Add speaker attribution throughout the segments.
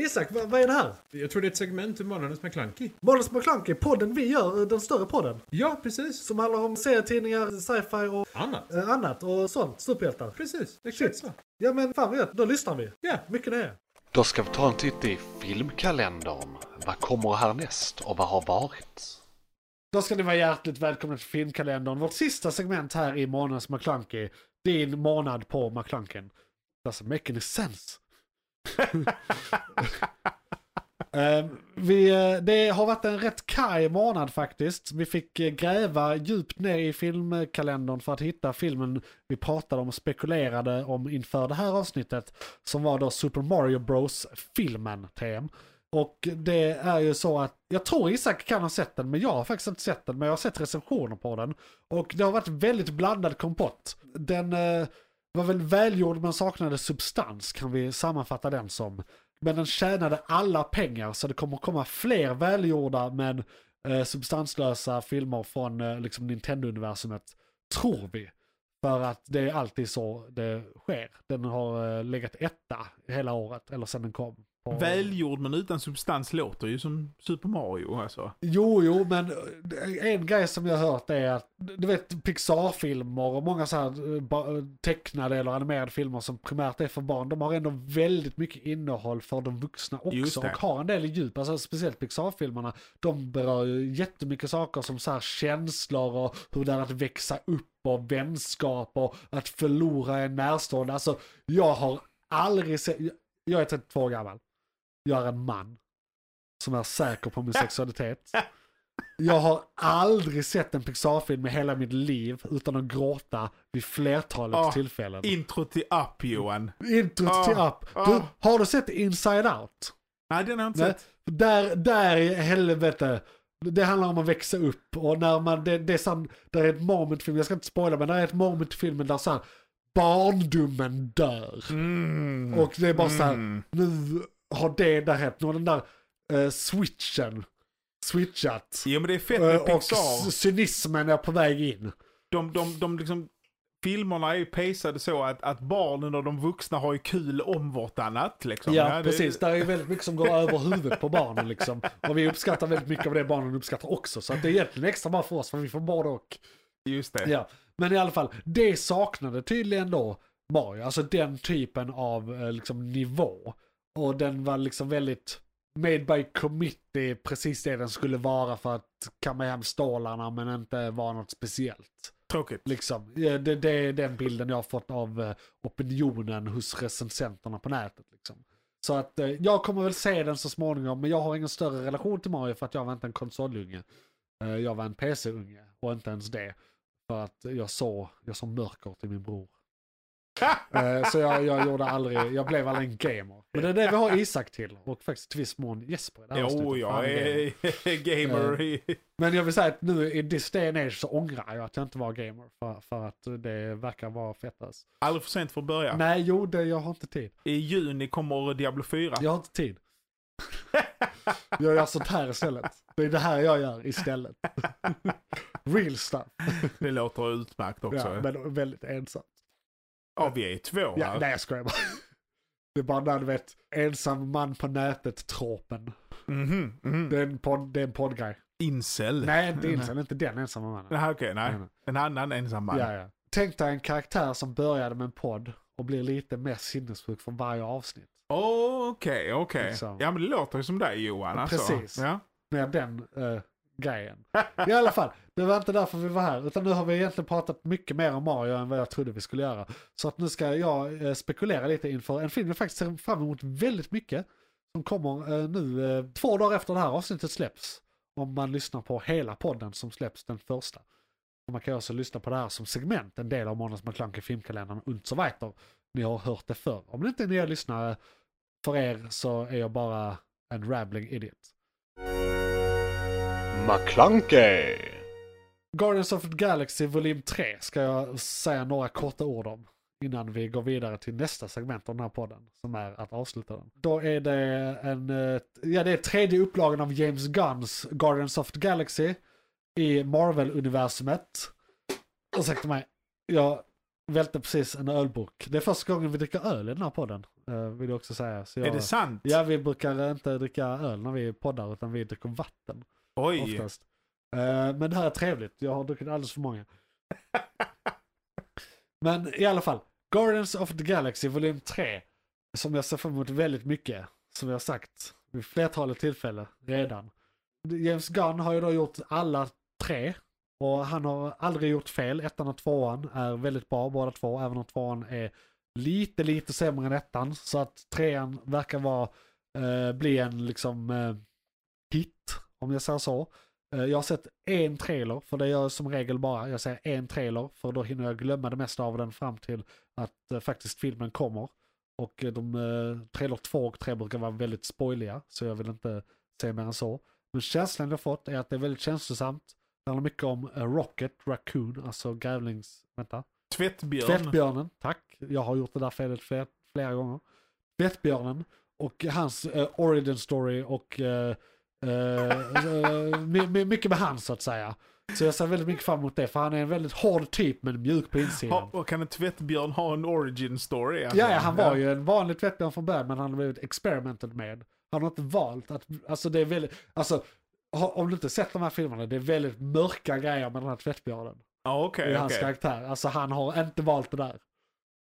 Speaker 1: Isak, vad, vad är det här?
Speaker 2: Jag tror det är ett segment ur Månadens McKlunky.
Speaker 1: Måns McClunky, podden vi gör, eh, den större podden.
Speaker 2: Ja, precis.
Speaker 1: Som handlar om serietidningar, sci-fi och
Speaker 2: Annat.
Speaker 1: eh, annat och sånt. Superhjältar.
Speaker 2: Precis, exakt
Speaker 1: Shit.
Speaker 2: så.
Speaker 1: Ja men fan vad gött, då lyssnar vi.
Speaker 2: Ja.
Speaker 1: Mycket nöje.
Speaker 3: Då ska vi ta en titt i filmkalendern. Vad kommer härnäst och vad har varit?
Speaker 1: Då ska ni vara hjärtligt välkomna till filmkalendern. Vårt sista segment här i månadens McClunky. Din månad på McClunken. Doesn't make any sense. Eh, vi, eh, det har varit en rätt kaj månad faktiskt. Vi fick eh, gräva djupt ner i filmkalendern för att hitta filmen vi pratade om och spekulerade om inför det här avsnittet. Som var då Super Mario Bros-filmen, TM. Och det är ju så att, jag tror Isak kan ha sett den, men jag har faktiskt inte sett den. Men jag har sett recensioner på den. Och det har varit väldigt blandad kompott. Den eh, var väl välgjord men saknade substans, kan vi sammanfatta den som. Men den tjänade alla pengar, så det kommer komma fler välgjorda men eh, substanslösa filmer från eh, liksom Nintendo-universumet, tror vi. För att det är alltid så det sker. Den har eh, legat etta hela året, eller sen den kom. Och-
Speaker 4: Välgjord men utan substans låter ju som Super Mario alltså.
Speaker 1: Jo, jo, men eh, en grej som jag har hört är att, du vet, Pixar-filmer och många så här eh, ba- tecknade eller animerade filmer som primärt är för barn, de har ändå väldigt mycket innehåll för de vuxna
Speaker 4: Just
Speaker 1: också.
Speaker 4: det.
Speaker 1: Och har en del djup, alltså speciellt Pixar-filmerna, de berör ju jättemycket saker som så här känslor och hur det är att växa upp och vänskap och att förlora en närstående. Alltså, jag har aldrig sett, jag är 32 år gammal, jag är en man som är säker på min sexualitet. Jag har aldrig sett en Pixar-film i hela mitt liv utan att gråta vid flertalet
Speaker 4: Ah,
Speaker 1: tillfällen.
Speaker 4: Intro till Up Johan.
Speaker 1: Introt
Speaker 4: ah,
Speaker 1: till Up. Du,
Speaker 4: ah.
Speaker 1: har du sett Inside Out?
Speaker 4: Nej den har jag inte
Speaker 1: Nej,
Speaker 4: sett.
Speaker 1: där, där i helvete. Det handlar om att växa upp och när man, det, det är sån, där är ett moment i filmen, jag ska inte spoila men där är ett moment i filmen där så här, barndomen dör.
Speaker 4: Mm.
Speaker 1: Och det är bara så här,
Speaker 4: Mm.
Speaker 1: nu har det där hänt, nu har den där eh, switchen switchat.
Speaker 4: Jo men det är fett
Speaker 1: Eh,
Speaker 4: med
Speaker 1: och
Speaker 4: Pixar.
Speaker 1: c- cynismen är på väg in.
Speaker 4: De, de, de liksom, filmerna är ju pacade så att, att barnen och de vuxna har ju kul om vartannat liksom.
Speaker 1: Ja,
Speaker 4: det-
Speaker 1: precis. Där är ju väldigt mycket som går över huvudet på barnen liksom. Och vi uppskattar väldigt mycket av det barnen uppskattar också. Så att det är egentligen extra bra för oss, för vi får både och.
Speaker 4: Just det.
Speaker 1: Ja. Men i alla fall, det saknade tydligen då Mario. Alltså den typen av eh, liksom, nivå. Och den var liksom väldigt made by committee, precis det den skulle vara för att kamma hem stålarna men inte vara något speciellt.
Speaker 4: Tråkigt.
Speaker 1: Liksom. Ja, Det, det är den bilden jag har fått av eh, opinionen hos recensenterna på nätet. Liksom. Så att eh, jag kommer väl se den så småningom, men jag har ingen större relation till Mario för att jag var inte en konsolunge. Eh, Jag var en PC-unge och inte ens det. För att jag såg, jag såg mörker till min bror. Eh, Så jag, jag gjorde aldrig, jag blev aldrig en gamer. Men det är det vi har Isak till och faktiskt till viss mån Jesper i det här
Speaker 4: Jo,
Speaker 1: avsnittet. Han
Speaker 4: jag
Speaker 1: är gamer.
Speaker 4: är
Speaker 1: Eh.
Speaker 4: gamer.
Speaker 1: Men jag vill säga att nu i this day and age så ångrar jag att jag inte var gamer. För, för att det verkar vara fett alltså.
Speaker 4: Aldrig för sent för att börja.
Speaker 1: Nej, jo, det, jag har inte tid.
Speaker 4: I juni kommer Diablo 4.
Speaker 1: Jag har inte tid. Jag gör sånt här istället. Det är det här jag gör istället. Real stuff.
Speaker 4: Det låter utmärkt också.
Speaker 1: Ja, men väldigt ensamt.
Speaker 4: Ja, vi är två
Speaker 1: Ja,
Speaker 4: här.
Speaker 1: nej, jag skojar bara. Det är bara när du vet, ensam man på nätet-tropen.
Speaker 4: Mhm, mhm.
Speaker 1: Det är en, podd, det är en poddgrej.
Speaker 4: Incel.
Speaker 1: Nej, inte ensam, inte den ensamma mannen.
Speaker 4: Nej, okej, nej.
Speaker 1: Nej, nej.
Speaker 4: En annan ensam man.
Speaker 1: Mm. Ja, ja. Tänk dig en karaktär som började med en podd och blir lite mer sinnessjuk för varje avsnitt.
Speaker 4: Åh, Okej, okej.
Speaker 1: Liksom.
Speaker 4: Ja, men det låter ju som dig Johan. Alltså.
Speaker 1: Precis.
Speaker 4: Ja.
Speaker 1: Med den eh, grejen. I alla fall, det var inte därför vi var här. Utan nu har vi egentligen pratat mycket mer om Mario än vad jag trodde vi skulle göra. Så att nu ska jag eh, spekulera lite inför en film jag faktiskt ser fram emot väldigt mycket. Som kommer eh, nu eh, två dagar efter det här avsnittet släpps. Om man lyssnar på hela podden som släpps den första. Och man kan också lyssna på det här som segment, en del av Månads McClunky filmkalendern und so weiter. Ni har hört det förr. Om det inte är nya lyssnare, för er så är jag bara en rambling idiot.
Speaker 3: McClunkey!
Speaker 1: Guardians of the Galaxy volym 3 ska jag säga några korta ord om innan vi går vidare till nästa segment av den här podden som är att avsluta den. Då är det en, eh, ja det är tredje upplagan av James Gunns Guardians of the Galaxy i Marvel-universumet. Ursäkta mig, jag välte precis en ölburk. Det är första gången vi dricker öl i den här podden. eh, Vill jag också säga. Så jag,
Speaker 4: Är det sant?
Speaker 1: Ja, vi brukar inte dricka öl när vi poddar utan vi dricker vatten
Speaker 4: Oj.
Speaker 1: oftast. Eh, Men det här är trevligt. Jag har druckit alldeles för många. Men i alla fall, Guardians of the Galaxy volym 3. Som jag ser fram emot väldigt mycket. Som jag har sagt vid flertalet tillfällen redan. James Gunn har ju då gjort alla tre. Och han har aldrig gjort fel. Ettan och tvåan är väldigt bra båda två. Även om tvåan är lite, lite sämre än ettan. Så att trean verkar vara, eh, bli en liksom eh, hit, om jag säger så. Eh, jag har sett en trailer, för det gör jag som regel bara. Jag säger en trailer, för då hinner jag glömma det mesta av den fram till att eh, faktiskt filmen kommer. Och eh, de, eh, trailer 2 och 3 brukar vara väldigt spoiliga, så jag vill inte säga mer än så. Men känslan jag fått är att det är väldigt känslosamt. Det handlar mycket om eh, Rocket Raccoon, alltså grävlings... Vänta.
Speaker 4: Tvättbjörn.
Speaker 1: Tvättbjörnen, tack. Jag har gjort det där felet fler, flera gånger. Tvättbjörnen och hans eh, origin story och eh, eh, eh, my- my- mycket med han så att säga. Så jag ser väldigt mycket fram emot det, för han är en väldigt hård typ men mjuk på insidan.
Speaker 4: Ha, och kan en tvättbjörn ha en origin story? alltså?
Speaker 1: Ja, ja, han var ju en vanlig tvättbjörn från början men han har blivit experimented med. Han har inte valt att, alltså det är väldigt, alltså ha- om du inte sett de här filmerna, det är väldigt mörka grejer med den här tvättbjörnen.
Speaker 4: Ja,
Speaker 1: i
Speaker 4: okej.
Speaker 1: hans
Speaker 4: okej.
Speaker 1: karaktär. Alltså han har inte valt det där.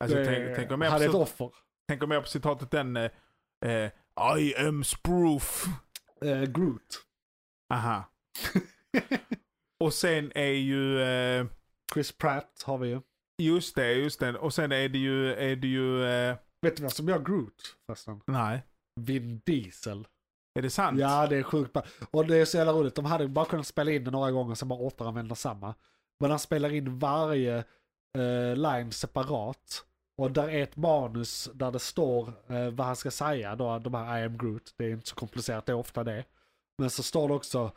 Speaker 4: Alltså,
Speaker 1: det,
Speaker 4: tänk, tänk, om jag
Speaker 1: Eh, han är ett
Speaker 4: på,
Speaker 1: offer.
Speaker 4: tänk om jag på citatet den... eh, Eh, I am sproof.
Speaker 1: eh, Groot.
Speaker 4: Aha. och sen är ju... Eh,
Speaker 1: Chris Pratt har vi ju.
Speaker 4: just det, just det. Och sen är det ju... Är det ju eh,
Speaker 1: Vet du vad som gör Groot förresten?
Speaker 4: nej.
Speaker 1: Vin Diesel.
Speaker 4: Är det sant?
Speaker 1: Ja, det är sjukt bra. Och det är så jävla roligt. De hade bara kunnat spela in det några gånger och sen bara återanvända samma. Men han spelar in varje eh, line separat. Och där är ett manus där det står eh, vad han ska säga. Då, de här I am Groot. Det är inte så komplicerat, det är ofta det. Men så står det också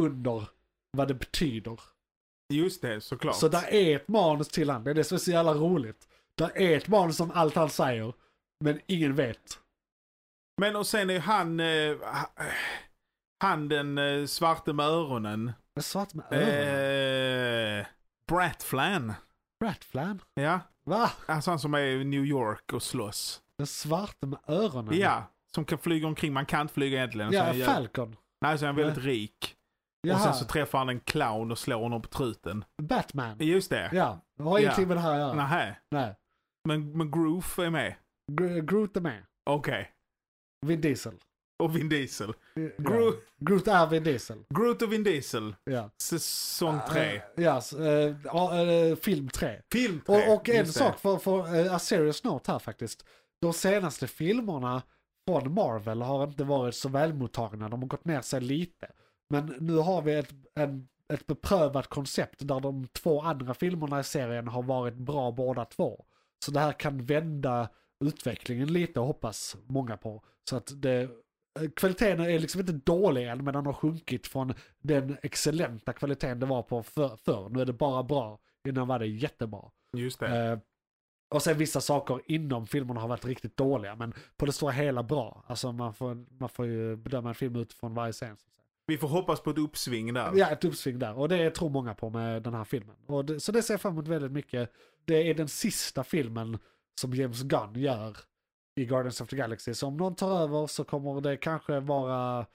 Speaker 1: under vad det betyder.
Speaker 4: Just det, såklart.
Speaker 1: Så där är ett manus till han. Det är det som är så jävla roligt. Där är ett manus om allt han säger. Men ingen vet.
Speaker 4: Men och sen är ju han... Eh, ha- han den eh, svarte med öronen.
Speaker 1: Men svart med öronen.
Speaker 4: Eh, Brat Flan.
Speaker 1: Ratflan?
Speaker 4: Ja.
Speaker 1: Va?
Speaker 4: Alltså han som är i New York och slåss.
Speaker 1: Den svarta med öronen?
Speaker 4: Ja. Som kan flyga omkring. Man kan inte flyga egentligen. Så
Speaker 1: Ja,
Speaker 4: han gör-
Speaker 1: Falcon.
Speaker 4: Nej, så är han väldigt rik. Och sen
Speaker 1: Jaha,
Speaker 4: så träffar han en clown och slår honom på truten.
Speaker 1: Batman.
Speaker 4: Just det.
Speaker 1: Mm. Ja, det har
Speaker 4: Ja.
Speaker 1: ingenting med det här att göra.
Speaker 4: Nähä.
Speaker 1: Nej.
Speaker 4: Men, men Groove är med.
Speaker 1: Gro- Groot är med.
Speaker 4: Okej.
Speaker 1: Vin Diesel.
Speaker 4: Och Vin Diesel.
Speaker 1: Ja.
Speaker 4: Groot,
Speaker 1: Groot är Vin Diesel.
Speaker 4: Groot och Vin Diesel.
Speaker 1: Ja.
Speaker 4: Säsong 3.
Speaker 1: Eh, Ja, s- eh, ja, eh, film 3.
Speaker 4: Film 3.
Speaker 1: Och, och en sak för, för eh, A Serious Note här faktiskt. De senaste filmerna från Marvel har inte varit så välmottagna. De har gått ner sig lite. Men nu har vi ett, en, ett beprövat koncept där de två andra filmerna i serien har varit bra båda två. Så det här kan vända utvecklingen lite hoppas många på. Så att det, eh, kvaliteten är liksom inte dålig än men den har sjunkit från den excellenta kvaliteten det var på för, förr. Nu är det bara bra. Innan var det jättebra.
Speaker 4: Just det.
Speaker 1: Eh, och sen vissa saker inom filmerna har varit riktigt dåliga, men på det stora hela bra. Alltså man får, man får ju bedöma en film utifrån varje scen. så att säga.
Speaker 4: Vi får hoppas på ett uppsving där.
Speaker 1: Ja, ett uppsving där. Och det tror många på med den här filmen. Och det, så det ser jag fram emot väldigt mycket. Det är den sista filmen som James Gunn gör i Guardians of the Galaxy. Så om någon tar över så kommer det kanske vara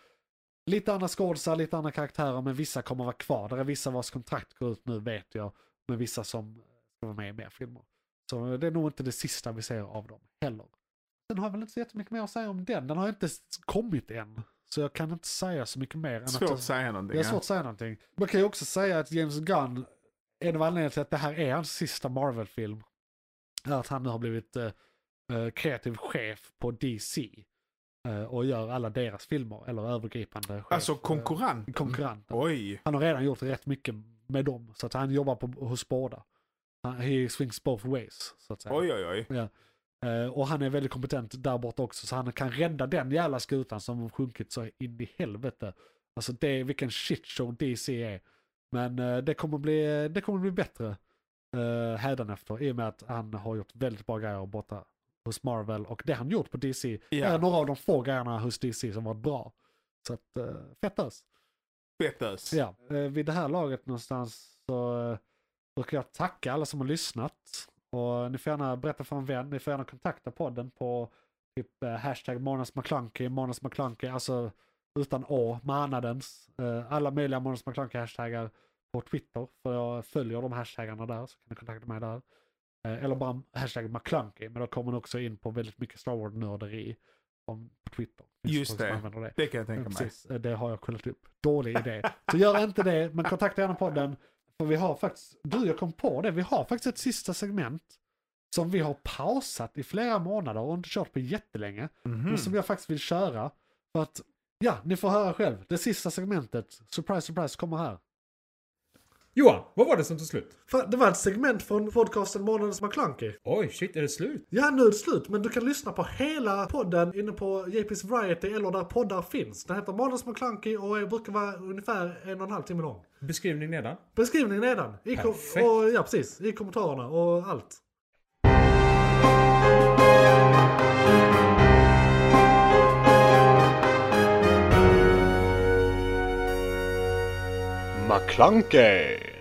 Speaker 1: lite andra skådisar, lite andra karaktärer, men vissa kommer vara kvar. Det är vissa vars kontrakt går ut nu vet jag, men vissa som ska vara med i mer filmer. Så det är nog inte det sista vi ser av dem heller. Den har väl inte så jättemycket mer att säga om den. Den har inte s- kommit än. Så jag kan inte säga så mycket mer. Än
Speaker 4: Svårt
Speaker 1: jag-
Speaker 4: att säga någonting.
Speaker 1: det är
Speaker 4: ja.
Speaker 1: svårt att säga någonting. Man kan ju också säga att James Gunn, en av anledningarna till att det här är hans sista Marvel-film, är att han nu har blivit eh, eh, kreativ chef på DC. eh, och gör alla deras filmer, eller övergripande chef.
Speaker 4: Alltså
Speaker 1: konkurrent.
Speaker 4: konkurrent.
Speaker 1: konkurrent.
Speaker 4: Oj.
Speaker 1: Han har redan gjort rätt mycket med dem, så att han jobbar på, hos båda. Han, he swings both ways, så att säga.
Speaker 4: Oj, oj, oj.
Speaker 1: Eh, och han är väldigt kompetent där borta också, så han kan rädda den jävla skutan som har sjunkit så in i helvete. Alltså det, vilken shitshow DC är. Men eh, det, kommer bli, det kommer bli bättre eh, hädanefter i och med att han har gjort väldigt bra grejer borta hos Marvel och det han gjort på DC
Speaker 4: Ja.
Speaker 1: är några av de få grejerna hos DC som varit bra. Så att, eh, fett ös.
Speaker 4: Fettös.
Speaker 1: Ja, eh, vid det här laget någonstans så eh, brukar jag tacka alla som har lyssnat Och ni får gärna berätta för en vän, ni får gärna kontakta podden på typ eh, hashtag Månads McClunky, Månads McClunky, alltså utan å, månadens. Eh, alla möjliga Månads McClunky hashtaggar på Twitter, för jag följer de hashtaggarna där, så kan ni kontakta mig där. Eh, eller bara hashtag McClunky, men då kommer ni också in på väldigt mycket Star Wars-nörderi om- på Twitter. Det finns
Speaker 4: Just
Speaker 1: folk som
Speaker 4: det.
Speaker 1: använder det.
Speaker 4: Det kan jag tänka
Speaker 1: Ja,
Speaker 4: mig.
Speaker 1: Precis, Eh, det har jag kollat upp. Dålig idé. Så gör inte det, men kontakta gärna podden. För vi har faktiskt, du jag kom på det, vi har faktiskt ett sista segment som vi har pausat i flera månader och inte kört på jättelänge.
Speaker 4: Mhm.
Speaker 1: Men som jag faktiskt vill köra. För att, ja, ni får höra själv. Det sista segmentet, surprise surprise, kommer här.
Speaker 2: Johan, vad var det som tog slut?
Speaker 1: Det var ett segment från podcasten Månadens McKlunky.
Speaker 2: Oj, shit, är det slut?
Speaker 1: Ja, nu är det slut, men du kan lyssna på hela podden inne på JP's Variety eller där poddar finns. Den heter Månadens McKlunky och brukar vara ungefär en och en halv timme lång.
Speaker 2: Beskrivning nedan.
Speaker 1: Beskrivningen nedan. I kom-
Speaker 2: Perfekt.
Speaker 1: och, ja, precis. I kommentarerna och allt.
Speaker 3: McClunkey!